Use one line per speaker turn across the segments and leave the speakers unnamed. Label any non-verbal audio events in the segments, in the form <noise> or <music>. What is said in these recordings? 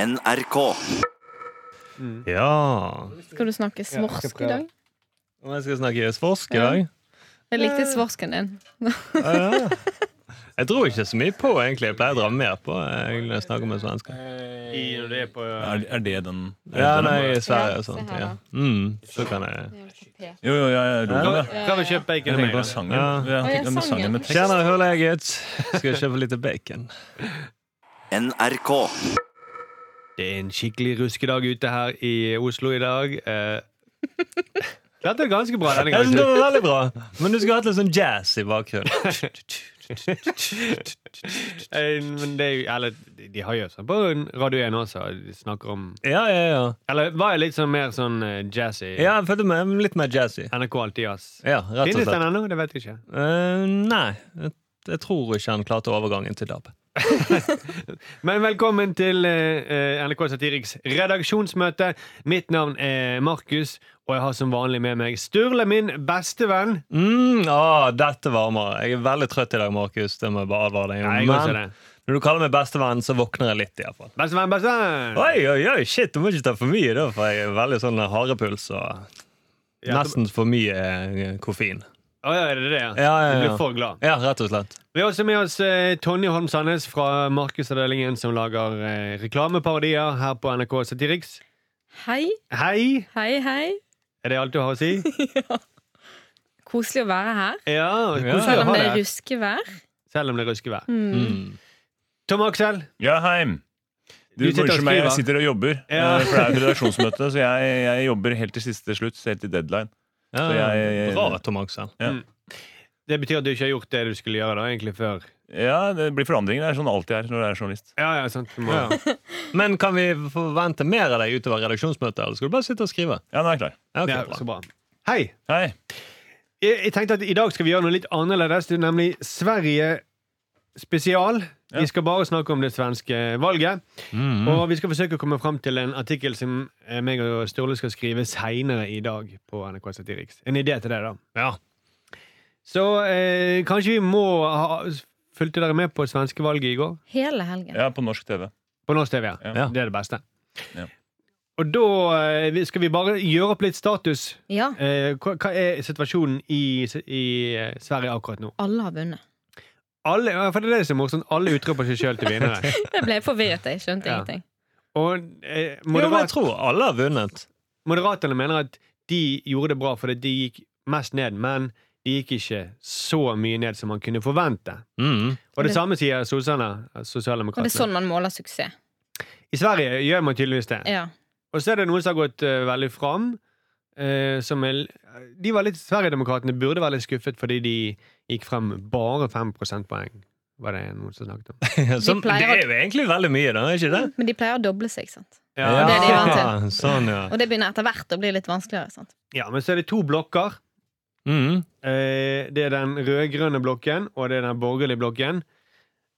NRK.
Ja.
Skal du snakke
jeg
svorsk
skal
i dag?
Om jeg skal snakke svorsk i dag?
Jeg likte svorsken din.
Ja, ja. Jeg dro ikke så mye på, egentlig. Jeg pleier å dra mer på eh, når jeg snakker med svensker.
når det er på
Er, er det den? Er
Ja,
det den?
nei, i Sverige og
Ja, se
sånt.
her,
Ja.
da.
Mm, så kan jeg
Jo, jo, jeg er rolig, da.
Kan vi kjøpe
Jeg
bacon?
tenker på
lenger?
den sangen.
Ja.
Å,
Jeg
ja,
tenker på den
sangen.
sangen med tekst.
Tjener, hør leget. Skal jeg kjøpe litt <laughs> bacon?
NRK.
Det er en skikkelig ruskedag ute her i Oslo i dag. Eh, <laughs> Dette er ganske bra denne
Jeg synes det
gangen.
var veldig bra. Men du skulle hatt litt sånn jazz i bakgrunnen.
Eh, Men det er jo Eller de har jo sånn på Radio 1 også. De snakker om
Ja, ja, ja.
Eller var jeg litt sånn mer sånn eh, jazzy?
Ja, jeg følte meg litt mer jazzy.
NRK Alltid Jazz.
Ja, rett og
Finnes den
slett.
ennå? Det vet jeg ikke.
Eh, nei, jeg, jeg tror ikke han klarte overgangen til DAB.
Men velkommen til eh, eh, NRK Satiriks redaksjonsmøte. Mitt navn er Markus, og jeg har som vanlig med meg Sturle, min bestevenn.
Mm, å, dette varmer. Jeg er veldig trøtt i dag, Markus. Det må jeg bare advare deg om.
Nei, jeg går ikke det.
når du kaller meg bestevenn, så våkner jeg litt. i hvert fall
Bestevenn, bestevenn!
Oi, oi, oi, shit, Du må ikke ta for mye, da, for jeg er veldig sånn harepuls og
Ja, så-
nesten for mye eh, koffein.
Å ja, er det det?
Ja,
Ja,
ja, ja.
Du blir for glad.
Ja, rett og slett.
Vi har også med oss eh, Tonje Holm Sandnes fra Markedsavdelingen, som lager eh, reklameparodier her på NRK Satiriks.
Hei,
Hei!
hei, hei.
Er det alt du har å <laughs> si?
Koselig å være her.
Ja,
Ja.
koselig
Selv
å
om
ha
det er
det.
ruskevær.
Selv om det er ruskevær.
Mm.
Mm.
Tom Aksel,
Ja, hei. Du,
Du sitter
går
og
ikke meg,
skriver.
jeg sitter og jobber.
Ja.
eh, For det er et redaksjonsmøte, så jeg, jeg jobber helt til siste slutt. Helt til deadline.
Ja,
Så jeg- jeg-
bra, Tom Aksel.
det betyr at du ikke har gjort det du skulle gjøre da, egentlig før.
Ja, det blir forandringer. Det er sånn alltid er når jeg er journalist.
Ja, ja, sant. Du må.
Ja. Men kan vi forvente mer av deg utover redaksjonsmøtet, eller skal du bare sitte og skrive?
Ja, nå er jeg klar.
Ja, ok,
Ja,
bra.
så bra. Hei!
Hei.
Jeg, jeg tenkte at i dag skal vi gjøre noe litt annerledes, det er nemlig Sverige spesial.
Ja.
Vi skal bare snakke om det svenske valget.
Mm.
Og vi skal forsøke å komme fram til en artikkel som eh, meg og Sturle skal skrive seinere i dag på NRK Satiriks. En idé til det, da.
Ja.
Så eh, kanskje vi må ha Fulgte dere med på svenskevalget i går?
Hele helgen.
Ja, på norsk TV.
På norsk TV, ja.
Ja.
Det er det beste.
Ja.
Og da eh, vi- skal vi bare gjøre opp litt status.
Ja,
Eh, hva, hva er situasjonen i, s- i eh, Sverige akkurat nå?
alle har vunnet.
Alle, ja, for det er det som er morsomt. Alle utroper seg sjøl til
<laughs>
vinnere.
Jeg ble forvirret, jeg skjønte
Ja.
ingenting.
Og eh,
Jo, men jeg
moderat,
tror alle har vunnet.
Moderaterne mener at de gjorde det bra fordi de gikk mest ned, men de gikk ikke så mye ned som man kunne forvente.
<laughs> Mm.
Og det
Det-
samme sier sossene,
Og det er
sosialdemokratene.
sånn man måler suksess.
I Sverige gjør man tydeligvis det.
Ja.
Og så er det noen som har gått eh, veldig fram. eh, som er, de var litt, Sverigedemokratene burde være litt skuffet fordi de gikk frem bare fem prosentpoeng, var det noen som snakket om.
Som, det
pleier å-
er jo egentlig veldig mye, da, er ikke det?
Men de pleier å doble seg, ikke sant.
Ja,
det er de vant
sånn, ja.
Og det begynner etter hvert å bli litt vanskeligere. sant?
ja, men så er det to blokker.
Mm.
Eh, Det er den rød-grønne blokken, og det er den borgerlige blokken.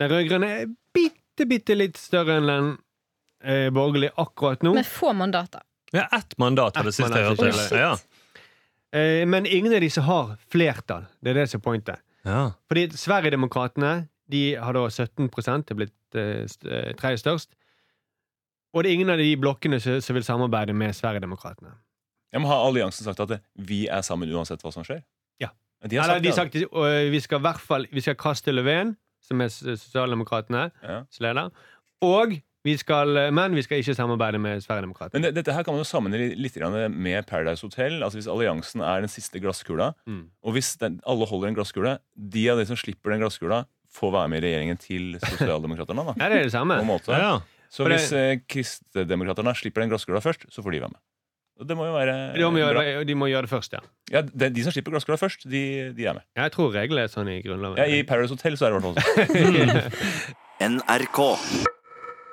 Den rød-grønne er bitte, bitte litt større enn den eh, borgerlige akkurat nå.
Med få mandater.
Ja, ett mandat var det
Ett
siste jeg
mandat,
hørte.
ikke
Ja.
sant?
Eh, Men ingen av disse har flertall. Det er det som er pointet.
Ja.
Fordi Sverigedemokratene de har da 17 det er blitt eh, st- eh, tredje størst. Og det er ingen av de blokkene som som vil samarbeide med Sverigedemokratene.
Jeg må ha alliansen sagt at eh, vi er sammen uansett hva som skjer.
Ja.
De har
Eller
sagt
de
det.
har sagt eh, vi skal i hvert fall vi skal kaste Löfven, som er s- sosialdemokratene.
Ja.
Folkepartis leder. Og vi skal, øh, men vi skal ikke samarbeide med Sverigedemokratene.
Men det, dette her kan man jo sammenligne litt grann med Paradise Hotel. Altså Hvis alliansen er den siste glasskula,
Mm.
og hvis den, alle holder en glasskule De av de som slipper den glasskula, får være med i regjeringen til Sosialdemokraterne. da,
Ja, det er det samme.
på en måte.
Ja.
Så
For det-
hvis eh, Kristdemokraterne slipper den glasskula først, så får de være med. Og det må jo være
De må,
bra.
gjøre, de må gjøre det først, ja.
Ja, det, De som slipper glasskula først, de, de er med.
Jeg tror reglene er sånn i Grunnloven.
Ja, I Paradise Hotel så er det i hvert fall sånn.
NRK.
<laughs>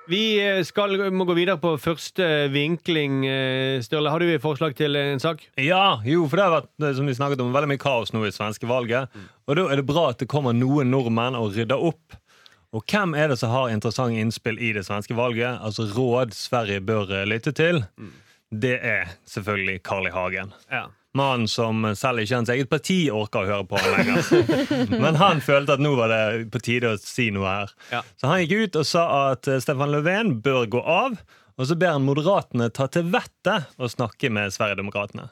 Vi eh, skal, må gå videre på første vinkling. eh, Sturle, har du et forslag til en sak?
Ja, jo, for det har vært eh, som vi snakket om, veldig mye kaos nå i svenske valget. Og da er det bra at det kommer noen nordmenn og rydder opp. Og hvem er det som har interessante innspill i det svenske valget? Altså råd Sverige bør eh, lytte til? Det er selvfølgelig Carl I. Hagen.
Ja.
Mannen som selv ikke hans eget parti orker å høre på ham lenger. <laughs> Men han følte at nå var det på tide å si noe her.
Ja.
Så han gikk ut og sa at eh, Stefan Löfven bør gå av. Og så ber han Moderatene ta til vettet og snakke med Sverigedemokraterna.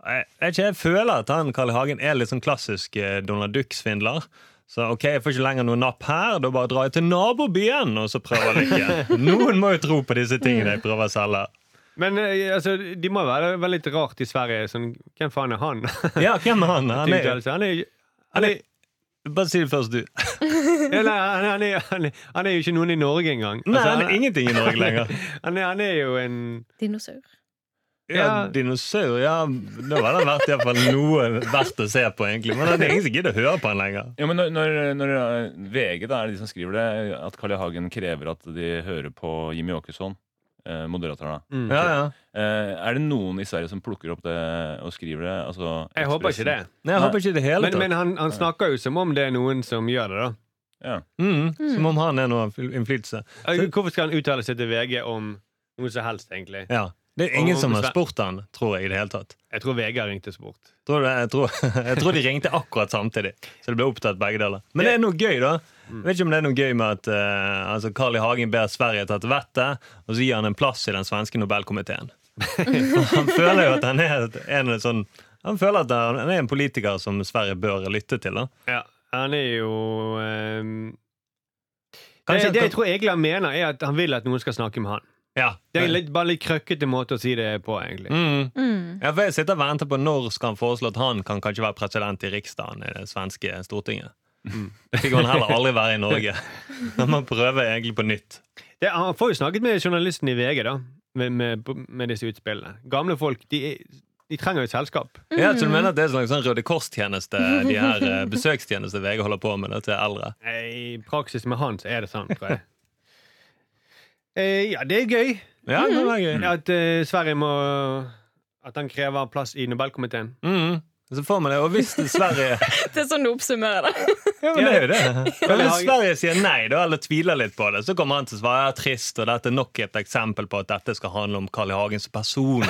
Jeg, jeg, jeg føler at han Carl I. Hagen er litt sånn klassisk eh, Donald Duck-svindler. Så ok, jeg får ikke lenger noe napp her, da bare drar jeg til nabobyen og så prøver lykken. Noen må jo tro på disse tingene jeg prøver å selge.
Men eh, altså, de må være veldig litt rart i Sverige. Sånn, hvem faen er han?
Ja, hvem er han?
<laughs>
Han er,
Tiltalelse. Han er,
han er, bare si det først, du.
ja, nei, han, han, er, han, er, han er jo ikke noen i Norge engang.
Nei,
Altså,
han er ingenting i Norge lenger.
han, er, han er jo en
Dinosaur.
Ja,
<laughs> Ja.
Dinosaur, ja. Da var det vært i hvert fall noe verdt å se på, egentlig. Men det er ingen som gidder å høre på han lenger.
Ja, men når, når, når eh, VG da, er det de som skriver det, at Carl I. Hagen krever at de hører på Jimmy Åkesson, eh, moderaterne.
mm.
Ja, ja.
Eh, er det noen i Sverige som plukker opp det og skriver det? Altså,
Jeg håper ikke det.
Nei, jeg håper ikke i det hele
Men,
tatt.
men han, han snakker jo som om det er noen som gjør det, da.
Ja.
Mm, som om han er noe innflytelse.
Altså, Hvorfor skal han uttale seg til VG om noe som helst, egentlig?
Ja. Det er
Og-
ingen
og
som har
Sven-
spurt han, tror jeg, i det hele tatt.
Jeg tror VG har ringt oss bort.
Tror du det? jeg, tror, <laughs> jeg tror de ringte akkurat samtidig, så det ble opptatt begge deler. Men det er noe gøy, da. Jeg vet ikke om det er noe gøy med at eh, altså Carl I. Hagen ber Sverige ta til vettet, og så gir han en plass i den svenske
<laughs>
Nobelkomiteen. Han føler jo at han er et- en sånn han føler at han er en politiker som Sverige bør lytte til. da.
Ja, han er jo ehm,
Kanskje
det, det
han
jeg tror Egil han mener, er at han vil at noen skal snakke med han.
Ja.
Det er en litt, bare litt krøkkete måte å si det på, egentlig.
Mm.
Mm.
Ja, for jeg sitter og venter på når skal han foreslå at han kan kanskje være president i Riksdagen i det svenske Stortinget.
Mm.
Det fikk man heller aldri være i
<laughs>
Norge. Men man prøver egentlig på nytt.
Det, han får jo snakket med journalisten i VG, da, med, med, med disse utspillene. Gamle folk, de, de trenger jo et selskap.
Ja, så du mener at det er en slags sånn Røde Kors-tjeneste, de her <laughs> eh, besøkstjenester VG holder på med da, til eldre?
Eh, I praksis med han så er det sånn,
<laughs>
tror jeg. Eh, ja, det er gøy
Ja, det var
Mm.
gøy.
at eh, Sverige må At han krever plass i Nobelkomiteen.
Mm. Så får man det. Og hvis Sverige
Det er sånn du oppsummerer det.
<laughs> Ja, men det er jo det. Men hvis
Hagen-
Sverige sier nei, da, eller tviler litt på det, så kommer han til å svare ja, trist, og dette er nok et eksempel på at dette skal handle om Carl I. Hagen som <laughs> person. og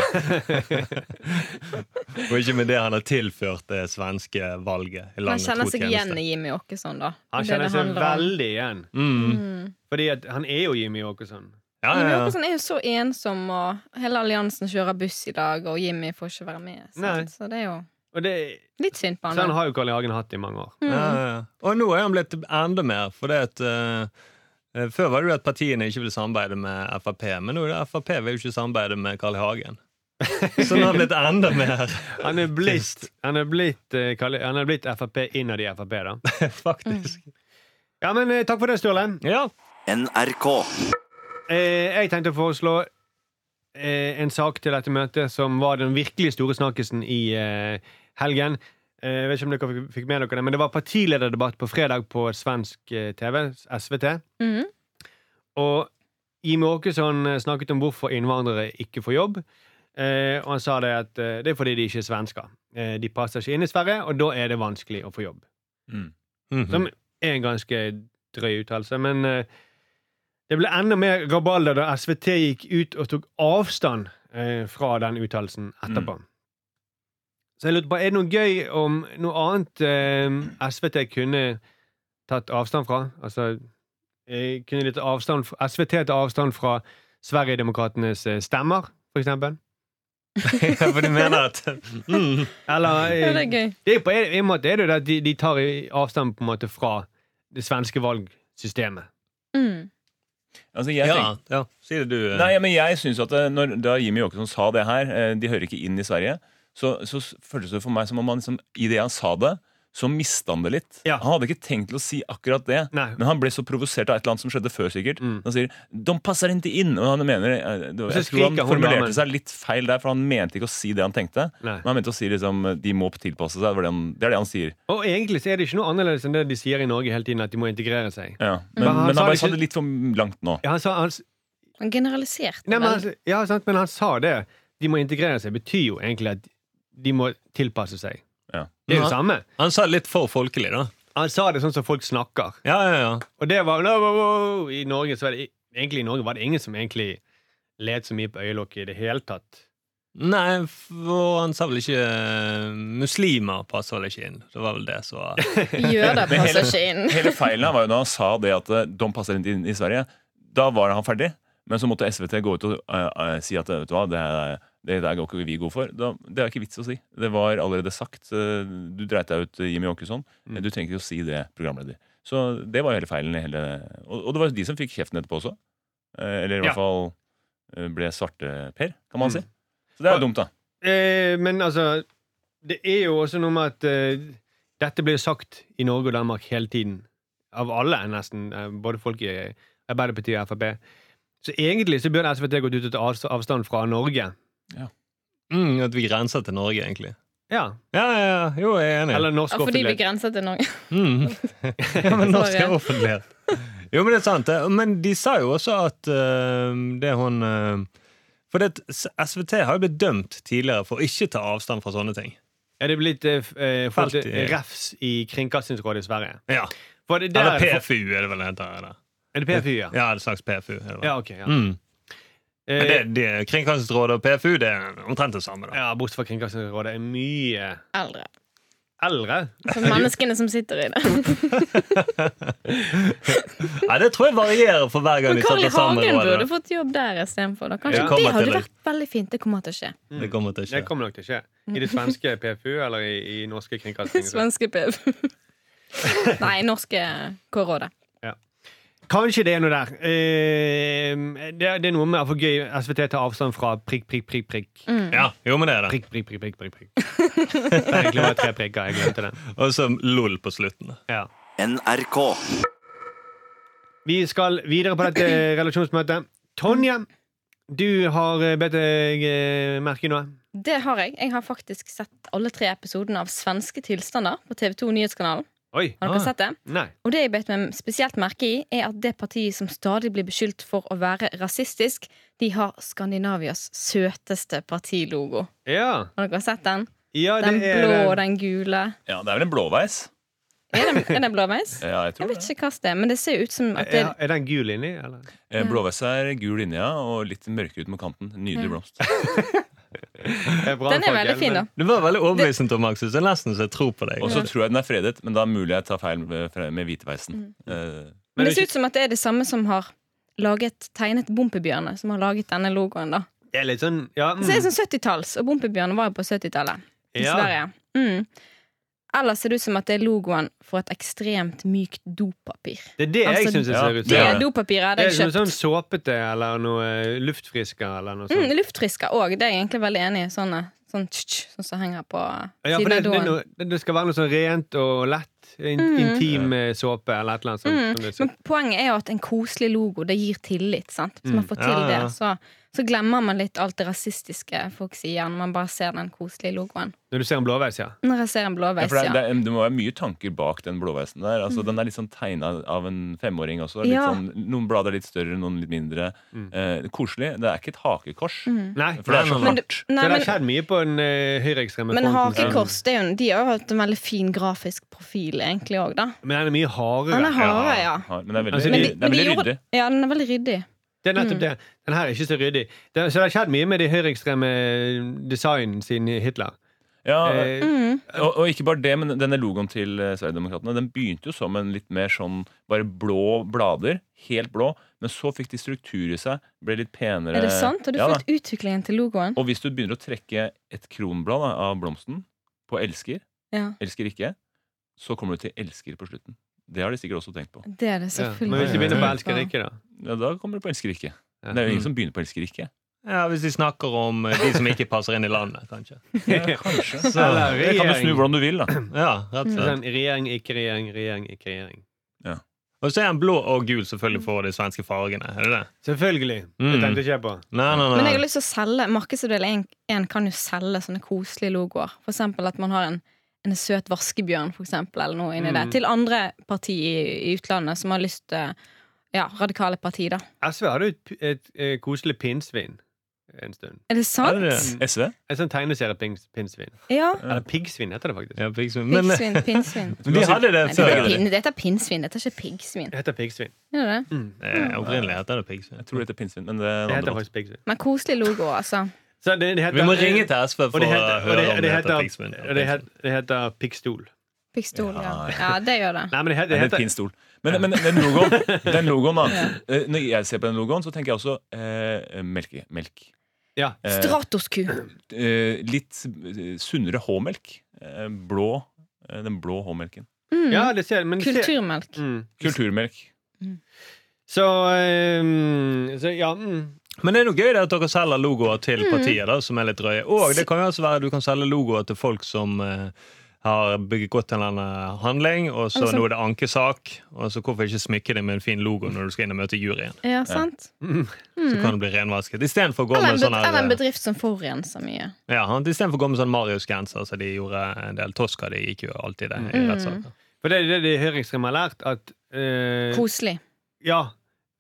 ikke med det han har tilført det svenske valget i
Han
landet.
kjenner
to
seg igjen
tjenester.
i Jimmy Åkesson, da.
Han
Det er
kjenner
det
seg
handler om.
veldig igjen.
Mm.
Fordi at han er jo Jimmy Åkesson.
Ja,
Jimmy
ja, ja.
Åkesson sånn, er jo så ensom, og hele alliansen kjører buss i dag, og Jimmy får ikke være med.
Nei.
Sant? Så det er jo
Og det,
litt synd på han.
sånn
da.
har jo Carl I. Hagen hatt i mange år.
Ja, ja, ja. Og nå er han blitt enda mer, for det at eh, eh, før var det jo at partiene ikke ville samarbeide med Frp, men nå er det Frp vil jo ikke samarbeide med Carl I. Hagen. Så nå har han blitt enda mer, <laughs>
Han er blitt,
Trist.
han er blitt, eh, Carl I- han er blitt Frp innad i Frp, da.
faktisk.
Ja, men eh, takk for det, Sturle.
Ja.
NRK.
Eh, jeg tenkte å foreslå eh, en sak til dette møtet som var den virkelig store snakkisen i eh, helgen. Eh, jeg vet ikke om dere fikk- fikk med dere det, men det var partilederdebatt på fredag på svensk eh, TV, SVT.
Mhm.
Og Jimmy Åkesson eh, snakket om hvorfor innvandrere ikke får jobb. Eh, og han sa det at eh, det er fordi de ikke er svensker. Eh, de passer ikke inn i Sverige, og da er det vanskelig å få jobb.
Mm.
Mhm.
Som er en ganske drøy uttalelse, men eh, det ble enda mer rabalder da SVT gikk ut og tok avstand eh, fra den uttalelsen etterpå.
Mm.
Så jeg lurte på, er det noe gøy om noe annet eh, SVT kunne tatt avstand fra? Altså, eh, kunne de ta avstand fra, SVT ta avstand fra Sverigedemokraternes eh, stemmer, for eksempel?
<laughs> Ja, for du mener at mm,
Eller,
Ja,
eh,
det er gøy.
det er på en, en måte er det jo det at de, de tar i- avstand på en måte fra det svenske valgsystemet.
Mm.
Altså, jeg tenker,
ja, ja, si det du. eh.
Nei, men jeg synes at eh, når, Da Jimmy Åkesson sa det her, eh, de hører ikke inn i Sverige, så, så s- føltes det for meg som om han liksom, i det han sa det, så mista han det litt.
Ja.
Han hadde ikke tenkt til å si akkurat det,
Nei.
men han ble så provosert av et eller annet som skjedde før, sikkert.
Mm.
Han sier 'de passer ikke inn', og han mener eh, det-
Og så
Jeg tror
skriker
han
hun damen.
formulerte seg litt feil der, for han mente ikke å si det han tenkte.
Nei.
Men han mente å si liksom 'de må tilpasse seg'. Det var det han- det er det han sier.
Og egentlig så er det ikke noe annerledes enn det de sier i Norge hele tiden, at de må integrere seg.
Ja. Men,
Men han
men han
sa
bare
det
sa
ikke-
det litt for langt nå.
Ja, han sa, han, s-
Han generaliserte
nei, men,
altså-
veldig.
han, s- ja, sant, men han sa det. De må integrere seg betyr jo egentlig at de må tilpasse seg.
Ja.
Det er jo det
Ja.
samme.
Han sa det litt for folkelig, da.
Han sa det sånn som folk snakker.
Ja, ja, ja.
Og det var no, no, no. I Norge så var det egentlig i Norge var det ingen som egentlig let så mye på øyelokket i det hele tatt.
Nei, for han sa vel ikke eh, Muslimer passer vel ikke inn. Det var vel det som var
Jøder
Men hele-
passer ikke
<laughs>
inn.
Hele feilen her var jo da han sa det at eh, de passer ikke inn i Sverige. Da var han ferdig, men så måtte SVT gå ut og eh, eh, si at eh, vet du hva, det, er- det der går ikke vi gode for. Da, det er ikke vits å si. Det var allerede sagt. eh, Du dreit deg ut, eh, Jimmy Åkesson.
Mm.
Du trenger ikke å si det, programleder. Så det var jo hele feilen. i Hele, og, og det var jo de som fikk kjeften etterpå også. Eh, Eller i
Ja.
hvert fall eh, ble svarteper, kan man
Mm.
si. Så det er jo dumt, da.
Eh, men altså, det er jo også noe med at eh, dette blir sagt i Norge og Danmark hele tiden. Av alle, nesten. Eh, både folk i Arbeiderpartiet og Frp. Så egentlig så burde SVT gått ut til avs- avstand fra Norge.
mm, At vi grenser til Norge, egentlig.
Ja.
Ja, ja, ja. Jo, jeg er enig.
Eller norsk
Ja, fordi vi
offentlighet.
grenser til Norge.
Mm.
<laughs>
ja, men norsk er
Sorry.
offentlighet. Jo, men det er sant. det. Men de sa jo også at eh, det hun eh, For det, at S- SVT har jo blitt dømt tidligere for å ikke ta avstand fra sånne ting.
Er det blitt eh, f- eh, fått
Felt i-
refs i Kringkastingsrådet i Sverige?
Ja.
For det, der,
Eller PFU, er det vel det heter. eller?
Er det PFU, ja?
Ja, en slags PFU. Er det vel.
Ja, ok. Ja.
Mm. Men det,
Eh,
det, Kringkastingsrådet og PFU det er omtrent det samme. da.
ja, Bortsett fra Kringkastingsrådet er mye
Eldre.
eldre.
Så menneskene som sitter i
<laughs>
det.
Nei, Det tror jeg varierer for hver gang
Men
de
Carl I.
setter sammen
Hagen burde
rådet.
fått jobb der istedenfor. da.
Ja.
Kanskje
Kommer
det
til
hadde
det.
vært veldig fint. Det kommer til å skje.
Det kommer til å
Det
skje.
kommer nok til å skje. I det svenske PFU eller i,
<laughs>
i norske kringkastingsrådet.
Svenske PV. <laughs> Nei, norske K-rådet.
Kanskje det er noe der. Eh, det, er- det er noe med å få gøy SVT tar avstand fra prikk, prikk, prikk, prikk.
Mm.
Ja, jo, men det er det.
Prikk, prikk, prikk, prikk, prikk, prikk. Det er egentlig bare tre prikker. Jeg glemte den.
Og så LOL på slutten. da.
Ja.
NRK.
Vi skal videre på dette relasjonsmøtet. Tonje, du har eh, bedt deg eh, merke i noe.
Det har jeg. Jeg har faktisk sett alle tre episodene av Svenske tilstander på TV2 Nyhetskanalen.
Oi. Ah,
Har dere sett det?
Nei.
Og det jeg beit meg spesielt merke i, er at det partiet som stadig blir beskyldt for å være rasistisk, de har Skandinavias søteste partilogo.
Ja.
Har dere sett den?
ja det
Den
er
blå og
det.
den gule.
Ja, det er vel en blåveis?
Er det, er det blåveis?
Ja, <laughs> jeg tror
Jeg
det.
vet ikke hva det er, men det ser jo ut som at det
Er, er den gul inni, eller?
Mm.
Eh, Blåveis er gul linje ja, og litt mørkere ut mot kanten.
Mm.
Nydelig blomst.
Den er veldig fin, da.
Det var veldig overbevisende, Tom Axel. så Det er nesten så jeg tror på deg.
Og så tror jeg den er fredet, men da er mulig jeg tar feil med, med hvitveisen.
Mm.
Eh,
Men det ser ut som at det er det samme som har laget, tegnet Bompebjørnene, som har laget denne logoen, da.
Det er litt sånn ja, mm.
Så det er sånn 70-talls, og Bompebjørnene var jo på 70-tallet i
Ja.
Sverige. Mm. Ellers ser det ut som at det er logoen for et ekstremt mykt dopapir.
Det er det jeg
Altså,
syns det
ja,
ser ut
det
Det
er
som.
det.
dopapiret
Det
hadde
er
jeg
som
kjøpt.
sånn såpete eller noe eh, luftfrisker eller noe sånt.
Mm, luftfrisker òg, det er jeg egentlig veldig enig i. Sånne, sånn tsk, tsk, sånn som henger på
Ja, for
siden
det,
av
det, er
doen.
noe, det- det skal være noe sånn rent og lett. In, Intim eh, såpe eller et eller annet sånt. sånn som det Mm. ser-
Mm. Men poenget er jo at en koselig logo det gir tillit. sant? Hvis man får til
Ja, ja, ja.
det, så, så glemmer man litt alt det rasistiske folk sier når man bare ser den koselige logoen.
Når du ser en blåveis, ja.
Når jeg ser en
ja,
blåveis,
for det,
ja. Mm.
er- det, er- det må være mye tanker bak den blåveisen der. Altså, Den er litt sånn tegna av en femåring også. Litt
Ja.
sånn, noen blader litt større, noen litt mindre.
Mm.
Eh, koselig. Det er ikke et hakekors.
Mm.
Nei.
For det er sånn
Nei,
så
men
rart.
Nei,
det
men,
har skjedd mye på den eh, høyreekstreme
men
fronten. så-
hakekors det er jo, de har jo hatt en veldig fin grafisk profil egentlig òg, da.
sånn. Men den er mye hardere.
Den er hardere, ja.
Ja, Men det er veldig,
Altså,
Men
det
de,
er
men de
veldig
gjorde,
ryddig.
ja, den er veldig ryddig.
Det er
Mm.
nettopp det. Den her er ikke så ryddig. Det, så det har skjedd mye med de høyreekstreme designen siden Hitler.
Ja,
Eh,
Mm,
og, og ikke bare det, men denne logoen til eh, Sverigedemokraterna Den begynte jo som en litt mer sånn bare blå blader. Helt blå. Men så fikk de struktur i seg. Ble litt penere.
Er det sant? Har du
Eh, Ja, da.
fulgt utviklingen til logoen?
Og hvis du begynner å trekke et kronblad da, av blomsten på elsker,
Ja,
elsker ikke, så kommer du til elsker på slutten. Det har de sikkert også tenkt på.
det er det
ja.
selvfølgelig.
Men hvis de begynner på
Ja.
elsker ikke, da?
Ja, da kommer du på elsker ikke.
Ja.
Det er jo ingen som begynner på elsker ikke.
Ja, Hvis de snakker om eh, de som ikke passer inn i landet, kanskje.
Ja, kanskje.
Så,
Eller
Det kan du snu
regjering.
hvordan du vil, da.
ja, rett og slett.
Sånn, regjering, ikke regjering, regjering, ikke regjering.
Og så er han blå og gul selvfølgelig for de svenske fargene. er det det?
Selvfølgelig.
Mm.
Det tenkte ikke jeg på.
Nei, nei,
Men jeg har
nei.
lyst til å selge Markedsavdel 1 kan jo selge sånne koselige logoer. For eksempel at man har en, en søt vaskebjørn for eksempel, eller noe inni det.
Mm.
Til andre parti i, i utlandet som har lyst til ja, radikale parti, da.
SV hadde jo et, p- et, eh, koselig pinnsvin en stund.
Er det sant?
Er det det?
SV?
Et sånn tegneserie-pinnsvin.
Ja.
Eller piggsvin heter det faktisk.
Ja, piggsvin. Men eh,
Piggsvin, pinnsvin.
vi hadde det
Nei, det
før.
er pin, dette er pinnsvin, dette er ikke piggsvin.
Det heter piggsvin.
Er det det?
Eh, Opprinnelig heter det piggsvin.
Jeg tror det heter pinnsvin, men det
Det
er en
heter
annen debatt.
faktisk piggsvin.
Men koselige logoer, altså.
Så det, det heter,
Vi må ringe til SV for
og det
å
heter, og
høre
det,
om
og det
det heter
heter,
Pigsmund.
og det heter, det heter piggstol.
Pistol, ja.
Ja,
ja. Det gjør det.
Nei, men det heter, det
Det er
heter
pinstol. Men, men den logoen, den logoen da. Eh, Når jeg ser på den logoen, så tenker jeg også eh, melke. Melk.
Ja.
Eh,
Stratosku.
eh, litt eh, sunnere H-melk. Eh, blå. eh, Den blå H-melken.
Mm.
Ja, det ser, men det ser,
Kulturmelk.
mm.
Kulturmelk.
Så, ehm, så ja mm.
Men det er noe gøy det at dere selger logoer til
Mm.
partier da, som er litt drøye. Og det kan jo også være at du kan selge logoer til folk som eh, har begått en eller annen handling, og så
Eller som-
nå er det ankesak. Og så hvorfor ikke smykke det med en fin logo når du skal inn og møte juryen?
Ja, sant?
Så kan det bli renvasket. Istedenfor å gå
Mm. Eller
med
en,
sånn
bed eller en
her,
bedrift som forurenser mye.
ja, han- i stedet for å gå med sånn Marius-genser som de gjorde en del Tosca. De gikk jo alltid det i
Mm.
rettssaker.
For det er det de høringsrem har lært, at eh,
Koselig.
Ja.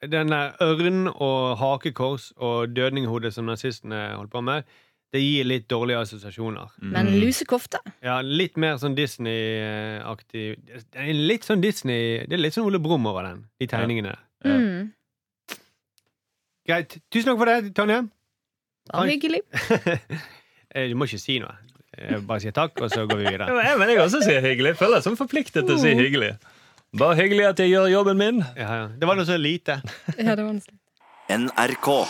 Den der ørn og hakekors og dødninghode som nazistene holdt på med, det gir litt dårlige assosiasjoner.
Men lusekofte?
Ja, Litt mer sånn Disney-aktig Det er litt sånn Disney Det er litt sånn Ole Brumm over den, de tegningene.
Ja.
Mm.
Greit. Tusen takk for det, Tonje. <laughs>
Bare hyggelig.
Eh, Du må ikke si noe. Eh, Bare si takk, og så går vi
Ja,
videre.
men jeg- men jeg også sier hyggelig. Jeg føler meg som forpliktet til å
Mm.
si hyggelig. Bare hyggelig at jeg gjør jobben min.
<laughs> Ja, ja. Det var noe så lite.
Ja, det var vanskelig.
NRK.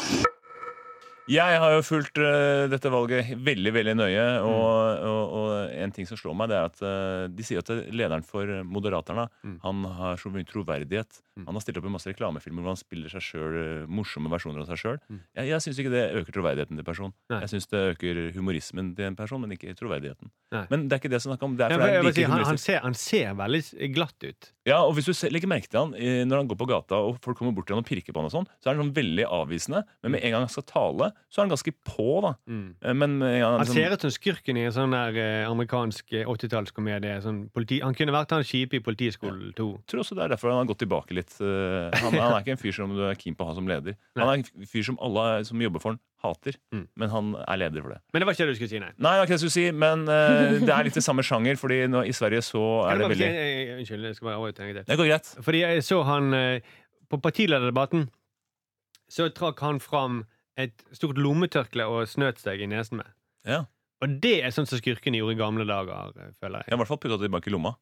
Jeg har jo fulgt eh, dette valget veldig veldig nøye,
Mm.
og, og, og en ting som slår meg, det er at eh, de sier at lederen for Moderaterna
Mm.
han har så mye troverdighet.
Mm.
Han har stilt opp i masse reklamefilmer hvor han spiller seg selv, eh, morsomme versjoner av seg sjøl.
Mm.
Jeg, jeg syns ikke det øker troverdigheten til en person.
Nei.
Jeg syns det øker humorismen til en person, men ikke troverdigheten.
Nei.
Men det er ikke det jeg snakker om. Det er
Jeg
for det er
vil
like
si, han, han,
humoristisk.
ser, han ser veldig glatt ut.
Ja, og hvis du se- legger merke til han eh, når han går på gata og folk kommer bort til han og pirker på han og sånn, så er han sånn veldig avvisende. Men med en gang han skal tale, så er han ganske på, da.
Mm.
Eh, Men med en gang
Han
liksom-
ser ut som skurken i en sånn der eh, amerikansk eh, 80-tallskomedie. Sånn politi- han kunne vært han kjipe i Politiskolen 2.
Jeg tror også det er derfor han har gått tilbake litt.
<laughs>
Eh, Han, han er ikke en fyr som du er keen på å ha som leder.
Nei.
Han er en fyr som alle som jobber for han, hater.
Mm.
Men han er leder for det.
Men det var ikke det du skulle si, nei.
Nei, det var ikke det jeg skulle si, men eh, det er litt i samme sjanger, fordi nå, i Sverige så
Kan
er
jeg
det
bare si,
veldig
eh, unnskyld, jeg skal bare avbryte en gang til.
Det går greit.
Fordi jeg så han eh, På partilederdebatten så trakk han fram et stort lommetørkle og snøt seg i nesen med.
Ja.
Og det er sånn som skurkene gjorde i gamle dager, eh, føler
Jeg
jeg.
har i hvert fall putta det tilbake i lomma.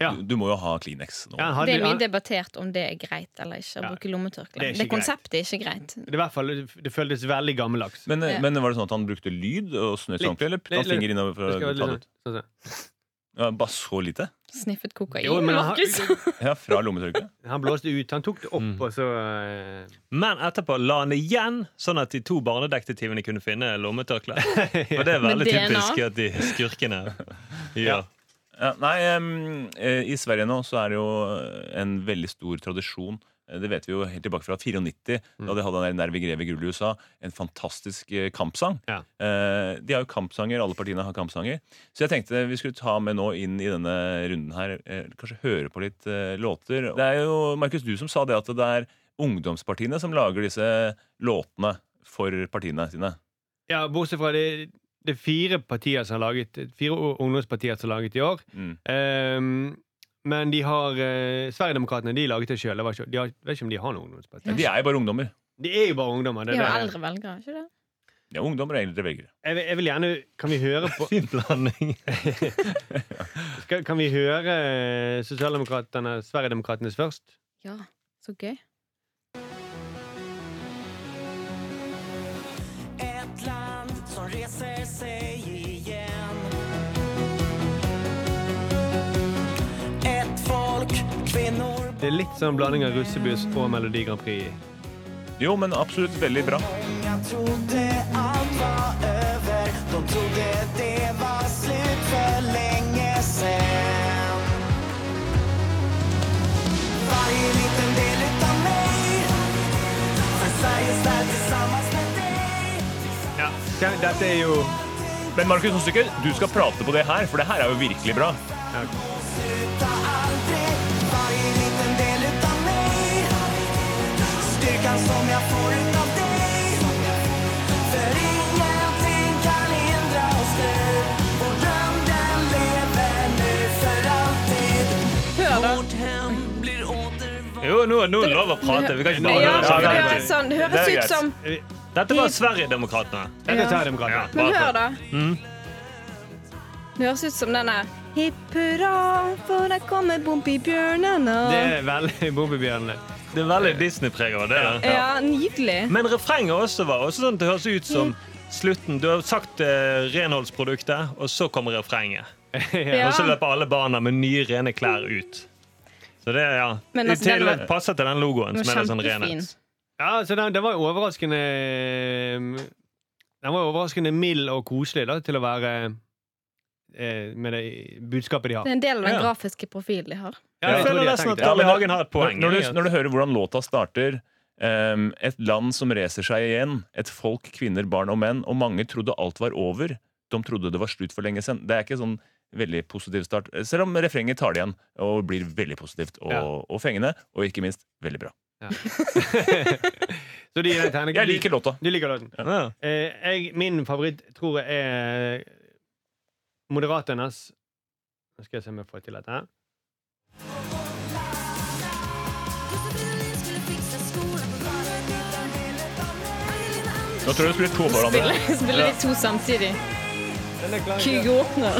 Ja.
Du, du må jo ha Kleenex nå.
Ja, han hadde-
Det er mye
han-
debattert om det er greit eller ikke å
Ja.
bruke lommetørkle.
Det er
Det,
ikke greit.
konseptet er ikke greit.
det, er i hvert fall, det føltes veldig gammeldags.
Men, eh,
Ja.
men var det sånn at han brukte lyd og snøt seg
Litt.
ordentlig, eller putta han
Litt, litt.
finger innover for
Det
å
skal være
ta det
litt
ut?
sånn- sånn- sånn.
Ja, bare så lite?
Sniffet kokain,
Jo, men han-
Markus.
Ja, fra lommetørkleet?
Han blåste ut. Han tok det opp,
Mm.
og så eh,
Men etterpå la han det igjen, sånn at de to barnedetektivene kunne finne lommetørkleet.
<laughs>
For det er
Med
veldig
DNA.
typisk at de skurkene
Ja.
gjør.
Ja, nei, em, eh, i Sverige nå så er det jo en veldig stor tradisjon. Eh, Det vet vi jo helt tilbake fra 94, da de hadde den der Nervi Greve Gull i USA. En fantastisk eh, kampsang.
Ja.
Eh, De har jo kampsanger, alle partiene har kampsanger. Så jeg tenkte vi skulle ta med nå inn i denne runden her, eh, kanskje høre på litt eh, låter. Det er jo, Markus, du som sa det at det er ungdomspartiene som lager disse låtene for partiene sine.
Ja, bortsett fra det, det er fire partier som har laget Fire ungdomspartier som har laget i år.
Mm.
Ehm, men de har eh, Sverigedemokraterna de laget det sjøl. Jeg vet ikke- de har- vet ikke om de har noen ungdomsparti.
Men De er jo bare ungdommer.
De er jo bare
<laughs>
ungdommer. Det
De
er
har jo
det.
eldre velgere, ikke det?
De er ungdommer og eldre velgere.
Jeg, vil- jeg vil gjerne Kan vi høre på
Fin blanding.
skal, Kan vi høre Sosialdemokratene Sverigedemokraternes først?
Ja, så gøy.
Ett land som reser sig igen Ett folk, kvinnor
Det er litt sånn blanding av russebuss og Melodi Grand Prix.
Jo, men absolutt veldig bra.
Många trodde allt var över De trodde det var slut för länge sen Varje liten del utav mig För Sverige står tillsammans med dig
Ja, det- Dette er jo
Men Markus Hostykker, du skal prate på det her, for det her er jo virkelig bra.
Sluta aldrig Varje liten del utav mig Styrkan som jeg får utav dig För ingenting kan hindra oss nu Vår dröm den lever nu för alltid
Hør, da.
Vårt hem blir åter
Jo, nå nå er det lov å prate. Vi kan ikke
Ja,
bare
det
høre
høres, sånn, det
Det
høres
er
ut
greit.
som
eh,
Dette var Sverigedemokraterna.
Dette
Ja.
tar dem
Ja,
gratis.
Men hør,
bare
da.
Mm.
Det høres ut som den der Hipp hurra, for der kommer Bompibjørnene.
Det er <laughs> veldig Bobbybjørnene.
på. Det er veldig Disney-preg over det. da.
Ja, nydelig.
Men refrenget også var også sånn at det høres ut som slutten. Du har sagt eh, renholdsproduktet, og så kommer refrenget.
Ja.
Og så løper alle barna med nye, rene klær ut. Så det, ja.
Men
I
altså, den
tillegg
var-
passer til den logoen,
Den
som
var
er litt sånn
kjempefin.
renhet.
Ja, så den, den var jo overraskende ehm, Den var jo overraskende mild og koselig da, til å være eh, med det budskapet de
Det
har.
er en del av den
Ja.
grafiske profilen de har.
Ja,
Jeg
tror
føler
de har
nesten at
tenkt det.
Ja,
Carl I.
men da-
Hagen har et
Når,
poeng.
når,
i
du,
at-
når du hører hvordan låta starter ehm, Et land som reser seg igjen. Et folk, kvinner, barn og menn. Og mange trodde alt var over. De trodde det var slutt for lenge siden. Det er ikke sånn veldig positiv start. Selv om refrenget tar det igjen og blir veldig positivt og,
Ja.
og fengende. Og ikke minst veldig bra.
Så de tegner
Jeg liker låta.
Du liker låten.
ja.
Eh, jeg, min favoritt tror jeg er eh, Moderaternes Nå skal jeg se om jeg får til dette. her.
Nå tror jeg du spiller to på hverandre.
Spiller, spiller de to samtidig.
Den er klar.
Kygo åpner.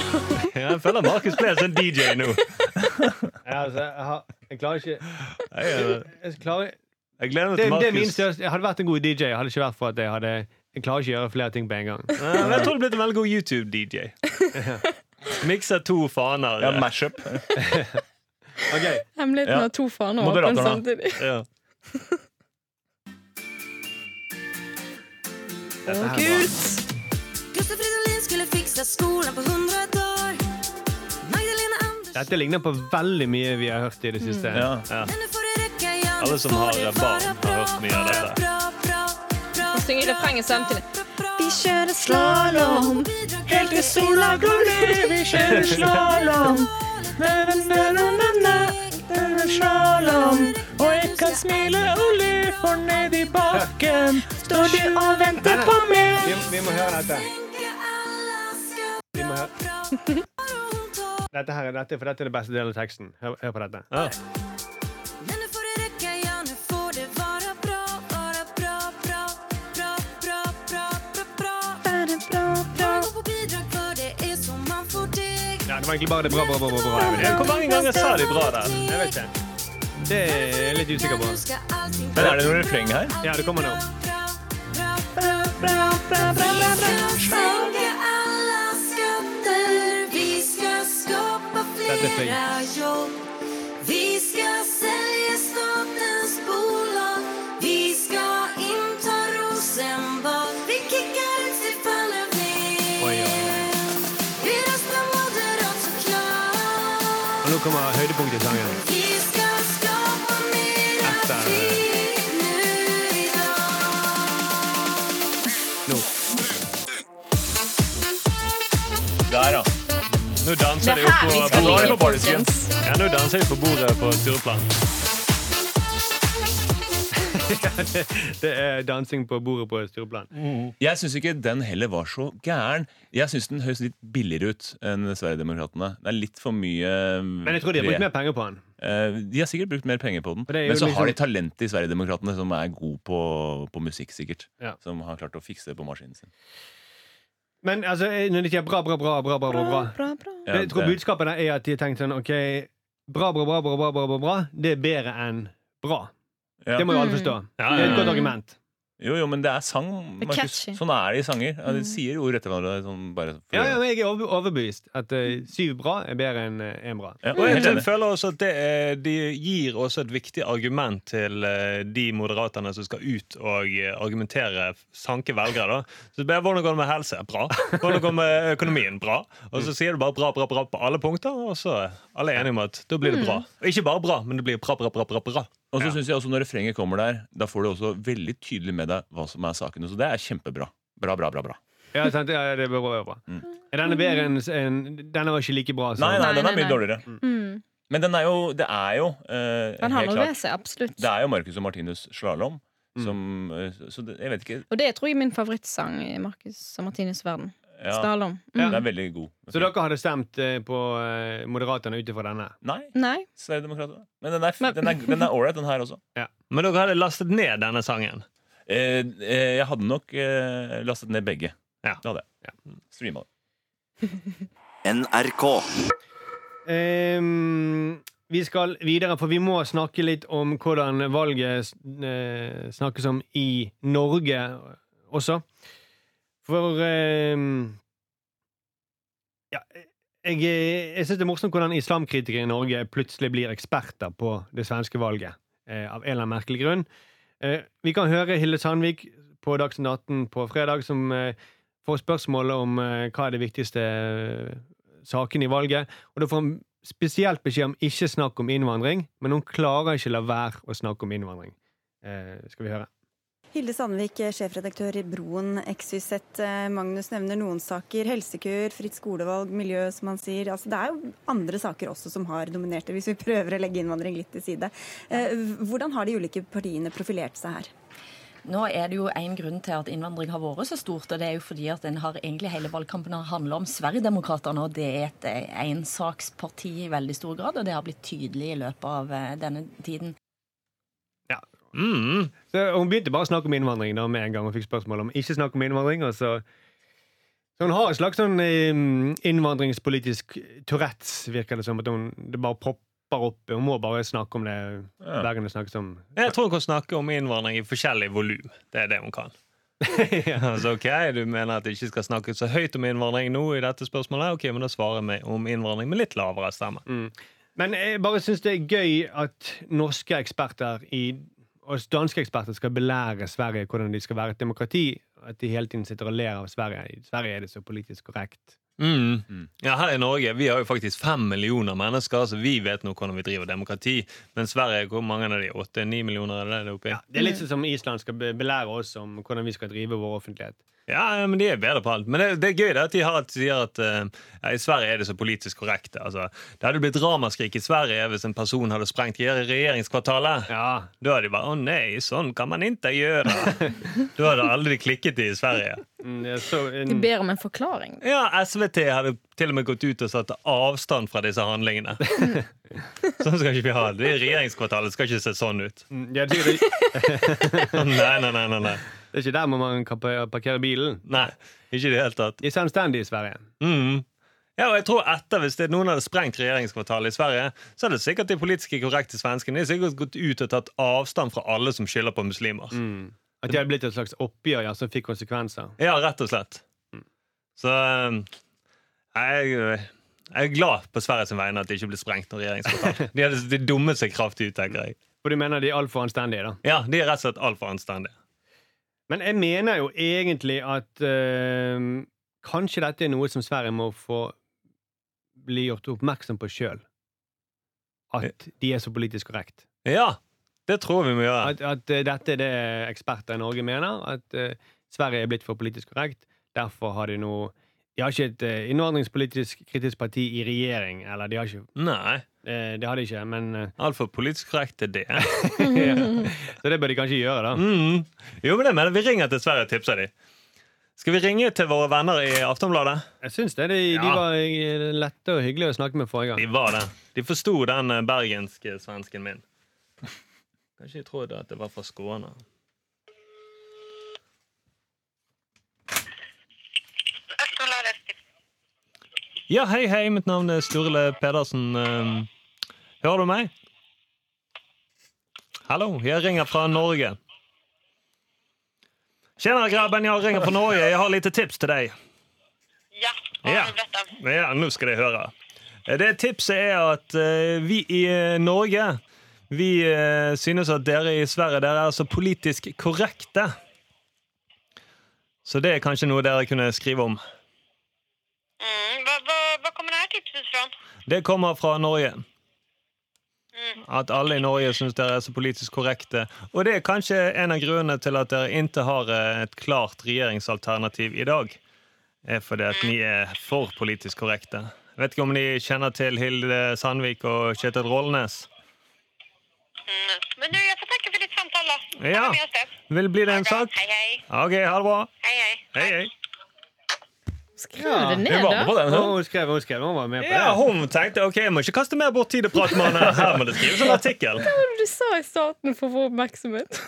Ja, Jeg føler Markus ble en sånn DJ nå.
Ja, altså, jeg, har, jeg klarer ikke
Jeg, eh,
jeg klarer,
jeg gleder meg
det,
til
det er min
Markus. Ja,
største Jeg hadde vært en god DJ, hadde det ikke vært for at jeg hadde Jeg klarer ikke å gjøre flere ting på en gang.
men Jeg tror det blir en veldig god
<laughs>
YouTube-DJ. Mikser to faner.
Ja, mashup.
Ok,
Hemmeligheten
Ja.
har to faner åpne
Moderaterne.
samtidig.
Ja.
dette her er bra.
Kult!
Gustav Fridolin skulle fikse skolen på 100 år. Magdalena Andersen
Dette ligner på veldig mye vi har hørt i det siste.
Ja.
Nå får det rekke, ja,
Alle
nå
som
får
har
det
barn
være
har
bra,
hørt mye av
bra,
dette.
bra, bra, bra,
Og synger
bra,
refrenget samtidig.
bra, bra.
Vi kjører slalåm
Bidrag
helt til sola går ned. Vi kjører slalåm. Slalåm. Og jeg kan smile og le, for nedi bakken står de og venter på meg.
Vi, vi må høre dette.
tenker alle skal
Vi må høre.
bra.
Dette, her, er- dette, for dette er det beste delen av teksten. Hør, hør på dette.
Ja.
Men nå får det rekke, ja, nå får det være bra, være bra, bra, bra, bra, bra, bra, bra. Bare gå på bidrag, for det er så man får deg.
Ja, det var egentlig bare det bra, bra, bra. bra, bra.
Ja, Hvor mange ganger sa de bra der?
Jeg vet ikke. Det er jeg litt usikker på.
Men er det noe refreng her?
Ja, det kommer nå.
Vi skal skapa flera jobb Vi ska sälja statens bolag Vi ska inta Rosenbad Vi kickar ut Stefan
Oj, oj,
Löfven Vi röstar moderat såklart
Og nå kommer høydepunktet i sangen.
vi skal skapa mera
Dette er-
tid nu i dag.
Nå.
Der, ja.
Nå danser
Det
de jo
er her vi
på
skal
bordet.
ligge, folkens.
Ja, nå danser de på bordet på Stureplan.
Det er dansing på bordet på Stureplan.
Jeg syns ikke den heller var så gæren. Jeg syns den høres litt billigere ut enn Sverigedemokraterna. Det er litt for mye
Men jeg tror de har brukt mer penger på den.
Eh, De har sikkert brukt mer penger på den.
For det er jo
Men så
liksom-
har de talentet i Sverigedemokraterna som er god på, på musikk, sikkert.
Ja.
Som har klart å fikse det på maskinen sin.
Men altså, når det ikke er bra, bra, bra, bra, bra, bra, bra.
Bra, bra.
Ja,
Jeg tror
det-
budskapet der er at de har tenkt sånn OK, bra, bra, bra, bra, bra, bra, bra, bra. det er bedre enn bra.
Ja.
Det må jo alle forstå.
Ja,
Det er
ja,
et godt
ja.
argument.
Jo, jo, men det er sang.
Det er
Markus.
catchy. Mm.
Sånn er det i sanger. Ja, de sier ord etter hverandre. Sånn bare for,
Ja, ja, men Jeg er overbe- overbevist at eh, syv bra er bedre enn eh, én bra.
Ja,
Og jeg
helt
tror-
enig.
føler også at det er, De gir også et viktig argument til eh, de moderaterne som skal ut og eh, argumentere, sanke velgere. da. Så bare, Hvordan går det med helse? Bra. Hvordan går det med økonomien? Bra. Og så sier du bare bra, bra, bra på alle punkter, og så er alle enige om at da blir det bra.
Mm.
Og ikke bare bra, men det blir bra, bra, bra, bra. bra.
Og så synes jeg også når refrenget kommer der, da får du også veldig tydelig med deg hva som er sakene. Så det er kjempebra. Bra, bra, bra. bra.
Ja, sant? Ja, det er bra, bra, bra. Er denne bedre enn enn- Denne var ikke like bra som
Mm. Nei, nei, den
Nei,
er
nei,
mye
nei.
dårligere.
Mm.
Men den er jo, det er jo eh,
Den har
helt
noe
klart
ved seg, absolutt.
Det er jo Marcus og Martinus slalåm.
Mm.
Som, eh, så det, jeg vet ikke
Og det er, tror jeg er min favorittsang i Markus og Martinus' verden.
ja,
Slalåm. Mm.
Den er veldig god.
Så dere hadde stemt eh, på eh, Moderaterne ut ifra denne?
Nei,
Nei.
Sverigedemokraterna. Men den er, f-
Men-
den er, den er ålreit, den her også.
Men dere hadde lastet ned denne sangen.
Eh, eh, jeg hadde nok eh, lastet ned begge.
Ja.
Det hadde jeg. Streama det.
NRK.
Ehm, vi skal videre, for vi må snakke litt om hvordan valget eh, snakkes om i Norge også. For ehm, Ja, jeg, jeg syns det er morsomt hvordan islamkritikere i Norge plutselig blir eksperter på det svenske valget. eh, av en eller annen merkelig grunn. Eh, vi kan høre Hilde Sandvik på Dagsnytt 18 på fredag, som eh, får spørsmålet om eh, hva er det viktigste eh, saken i valget. Og da får han spesielt beskjed om ikke snakk om innvandring, men hun klarer ikke la være å snakke om innvandring. Eh, skal vi høre.
Hilde Sandvik, sjefredaktør i Broen XYZ. Eh, Magnus nevner noen saker. Helsekøer, fritt skolevalg, miljø, som han sier. Altså, det er jo andre saker også som har dominert det, hvis vi prøver å legge innvandring litt til side. Eh, Hvordan har de ulike partiene profilert seg her?
Nå er det jo en grunn til at innvandring har vært så stort, og det er jo fordi at en har egentlig hele valgkampen har handlet om Sverigedemokraterna, og det er et eh, ensaksparti i veldig stor grad, og det har blitt tydelig i løpet av eh, denne tiden.
Mm.
Så hun begynte bare å snakke om innvandring da med en gang hun fikk spørsmål om ikke snakk om innvandring. og så... Så hun har en slags sånn eh, innvandringspolitisk Tourettes, virker det som. At hun, det bare popper opp. Hun må bare snakke om det
Ja.
hver gang det snakkes om
Jeg tror hun kan snakke om innvandring i forskjellig volum. Det er det hun <laughs> kan. altså, ok, Du mener at jeg ikke skal snakke så høyt om innvandring nå, i dette spørsmålet? Ok, men da svarer vi om innvandring med litt lavere stemme.
Men jeg bare syns det er gøy at norske eksperter i, og danske eksperter skal belære Sverige hvordan de skal være et demokrati. At de hele tiden sitter og ler av Sverige. I Sverige er det så politisk korrekt.
Mm. Ja, Her i Norge vi har jo faktisk fem millioner mennesker, så vi vet nå hvordan vi driver demokrati. Men Sverige, hvor mange av de? Åtte-ni millioner? Er det det er oppi? Ja.
Det er litt sånn som Island skal be- belære oss om hvordan vi skal drive vår offentlighet.
ja, men de er bedre på alt. Men det, det er gøy det at de har at, sier at eh, ja, i Sverige er det så politisk korrekt. Altså, det hadde blitt ramaskrik i Sverige hvis en person hadde sprengt re- regjeringskvartalet.
Ja,
Da hadde de bare 'Å nei, sånn kan man ikke gjøre'. da hadde aldri klikket de i Sverige.
mm, det er så,
De
en,
ber om en forklaring.
Ja, SVT hadde til og med gått ut og satt avstand fra disse handlingene. sånn skal ikke vi ha det. Det Regjeringskvartalet skal ikke se sånn ut.
mm, ja, det, er, det
nei, nei, nei, nei, nei.
er ikke der må man kan pa- parkere bilen.
nei. Ikke i det hele tatt.
De er selvstendige i Sverige.
Mm. Ja, og jeg tror etter Hvis det, noen hadde sprengt regjeringskvartalet i Sverige, så hadde sikkert de politiske korrekte svenskene de hadde sikkert gått ut og tatt avstand fra alle som skylder på muslimer.
At de har blitt et slags oppgjør ja, som fikk konsekvenser.
Ja, rett og slett. Så um, jeg, jeg er glad på Sverige sin vegne at det ikke ble sprengt noe regjeringskvartal. De, hadde- de dummet seg kraftig ut, tenker jeg.
For du mener de er altfor anstendige, da?
Ja, de er rett og slett altfor anstendige.
Men jeg mener jo egentlig at eh, kanskje dette er noe som Sverige må få bli gjort oppmerksom på sjøl. At de er så politisk korrekt.
Ja, det tror vi må gjøre.
At, at eh, dette er det eksperter i Norge mener. At eh, Sverige er blitt for politisk korrekt. Derfor har de nå De har ikke et eh, innvandringspolitisk kritisk parti i regjering. Eller de har ikke
Nei,
eh, Det har de ikke, men
<laughs>
eh, <laughs>
altfor politisk korrekt er det.
ja. Så det bør de kanskje gjøre, da.
Mm. Jo, men det mener jeg. Vi ringer til Sverige og tipser de. Skal vi ringe til våre venner i Aftonbladet?
Jeg syns det. De, de
Ja.
var eh, lette og hyggelige å snakke med forrige gang.
De var det. De forsto den eh, bergenske svensken min. Kanskje de trodde at det var fra Skåne. Ja, hei, hei. Mitt navn er Sturle Pedersen. Eh, Hører du meg? Hallo, jeg ringer fra Norge. Tjena, grabben. Jeg ringer fra Norge. Jeg har lite tips til deg.
Ja, vad
Ja.
har du berättat?
Ja, nå skal dere høre. Eh, Det tipset er at eh, vi i eh, Norge vi eh, synes at dere i Sverige dere er så politisk korrekte. Så det er kanskje noe dere kunne skrive om.
Mm, vad, vad, vad kommer det här tipset ifrån?
Det kommer fra Norge. At alle i Norge syns dere er så politisk korrekte. Og det er kanskje en av grunnene til at dere ikke har eh, et klart regjeringsalternativ i dag. Er fordi at ni er for politisk korrekte. Jeg vet ikke om ni kjenner til Hilde Sandvik og Kjetil Rollnes?
Mm. Men du, jag får tacka för ditt samtal då.
Ja.
Ta med oss det.
Vil bli det en
Bra.
sak?
Hei, hei.
OK, ha det bra.
Hei, hei.
Hei, hei.
Skriv det ned,
Hun var med på
da.
den, hun.
Hun skrev, hun skrev, hun var med på det.
Ja, hun tenkte ok, jeg må ikke kaste mer bort tid og prate med han her. Her må det skrives en artikkel.
Hva var det du sa i starten for å få oppmerksomhet?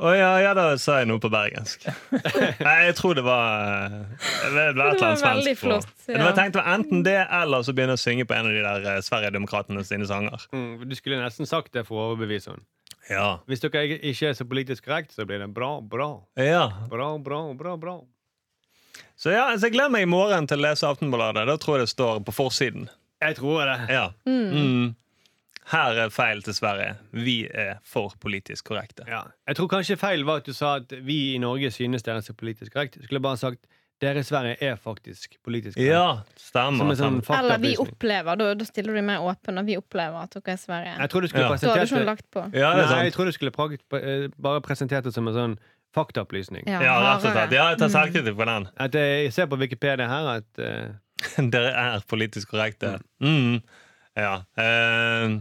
Å ja, ja da sa jeg noe på bergensk. Nei, jeg tror det var eh, Det var et eller
var
annet
veldig
svensk.
flott,
på. Men
ja.
jeg tenkte det var enten det, eller så begynne å synge på en av de der eh, Sverigedemokratene sine sanger.
Mm, Du skulle nesten sagt det for å overbevise henne.
Ja.
Hvis dere ikke er så politisk korrekt, så blir det bra, bra,
ja.
bra, bra, bra. bra.
Så ja, så jeg gleder meg i morgen til å lese Aftenballadet. Da tror jeg det står på forsiden.
Jeg tror det.
Ja. Mm. Her er feil til Sverige. Vi er for politisk korrekte.
Ja. Jeg tror kanskje feil var at du sa at vi i Norge synes dere er så politisk korrekt. Jeg skulle bare sagt dere i Sverige er faktisk politisk korrekt.
Ja,
Som
stemmer.
en sånn
stemmer.
Eller vi
faktaopplysning.
opplevde, da, da stiller du mer åpen, og vi opplever at dere er Sverige.
Jeg tror du skulle
Ja.
Så hadde du ikke
presentert det
lagt på.
Ja, det er
Nei, jeg
sant.
tror du skulle pra- eh, bare presentert det som en sånn faktaopplysning.
Ja, rett og slett.
hardere.
Ja, jeg tar selvkritikk på den. <laughs>
At eh, jeg ser på Wikipedia her at eh,
Dere er politisk korrekte. Mm. Ja. Eh,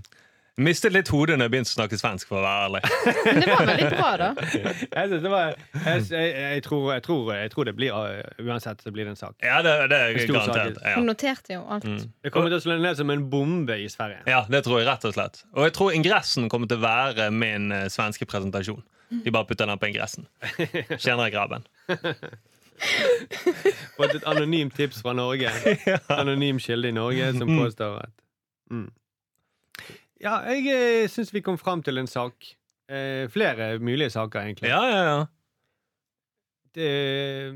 mistet litt hodet når jeg begynte å snakke svensk, for å være ærlig.
Men det var veldig bra, da.
Jeg, synes det var, jeg, jeg, jeg, tror, jeg, tror, jeg tror det blir eh, Uansett så blir det en sak.
Ja, det, <laughs> det er
En stor
garantert. <laughs>
Hun
Ja. Mm.
noterte jo alt.
Det kommer til å slå ned som en bombe i Sverige.
ja, det tror jeg rett og slett. Og jeg tror ingressen kommer til å være min eh, svenske presentasjon. De bare putter den på <laughs> ingressen. Kjenner jeg grabben.
Fått et anonymt tips fra
<laughs>
Norge. Anonym kilde i Norge som påstår at mm. Ja, jeg eh, syns vi kom fram til en sak. Eh, flere mulige saker, egentlig.
Ja, ja, ja.
Det,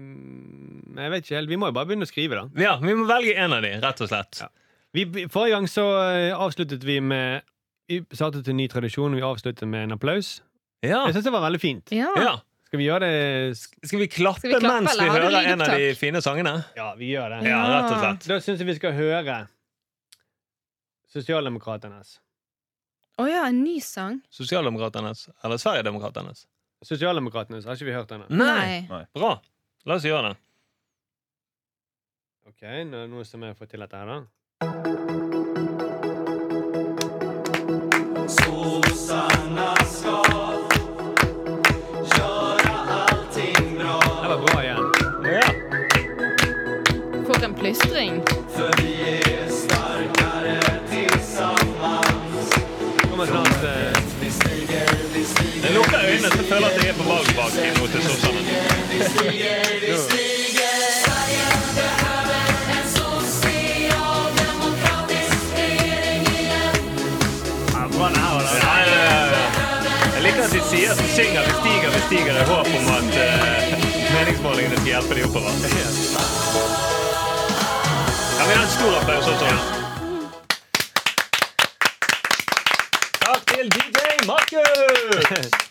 mm, jeg vet ikke helt. Vi må jo bare begynne å skrive, da.
ja vi må velge en av de, rett og slett.
Ja. Vi, vi- forrige gang så eh, avsluttet vi med Vi startet en ny tradisjon. Vi avsluttet med en applaus.
Ja.
Jeg syns det var veldig fint.
Ja.
ja.
Skal vi gjøre det s-
Skal vi klappe,
Skal vi klappe,
mens vi
eller har du
hører en av de
lydopptak?
fine sangene?
Ja, vi gjør det.
Ja, rett og slett.
Da syns jeg vi skal høre Sosialdemokraternes.
Å ja, en ny sang?
Sosialdemokraternes eller Sverigedemokraternes?
Sosialdemokraternes har ikke vi hørt ennå.
Nei.
Bra. La oss gjøre det.
Ok, nå er det noe som jeg får til dette her, da. Det var bra igjen.
Ja.
For en plystring.
Kommer snart eh,
Jeg lukker øynene så føler jeg at jeg er på valgbakke nå til sossene. Ja, bra, det her var det. Ja, ja, ja, ja. Jeg liker at de sier at de synger, vi stiger, vi stiger, i håp om at eh, meningsmålingene skal hjelpe de oppover. Kan vi ha en stor applaus også? Takk til DJ Markus!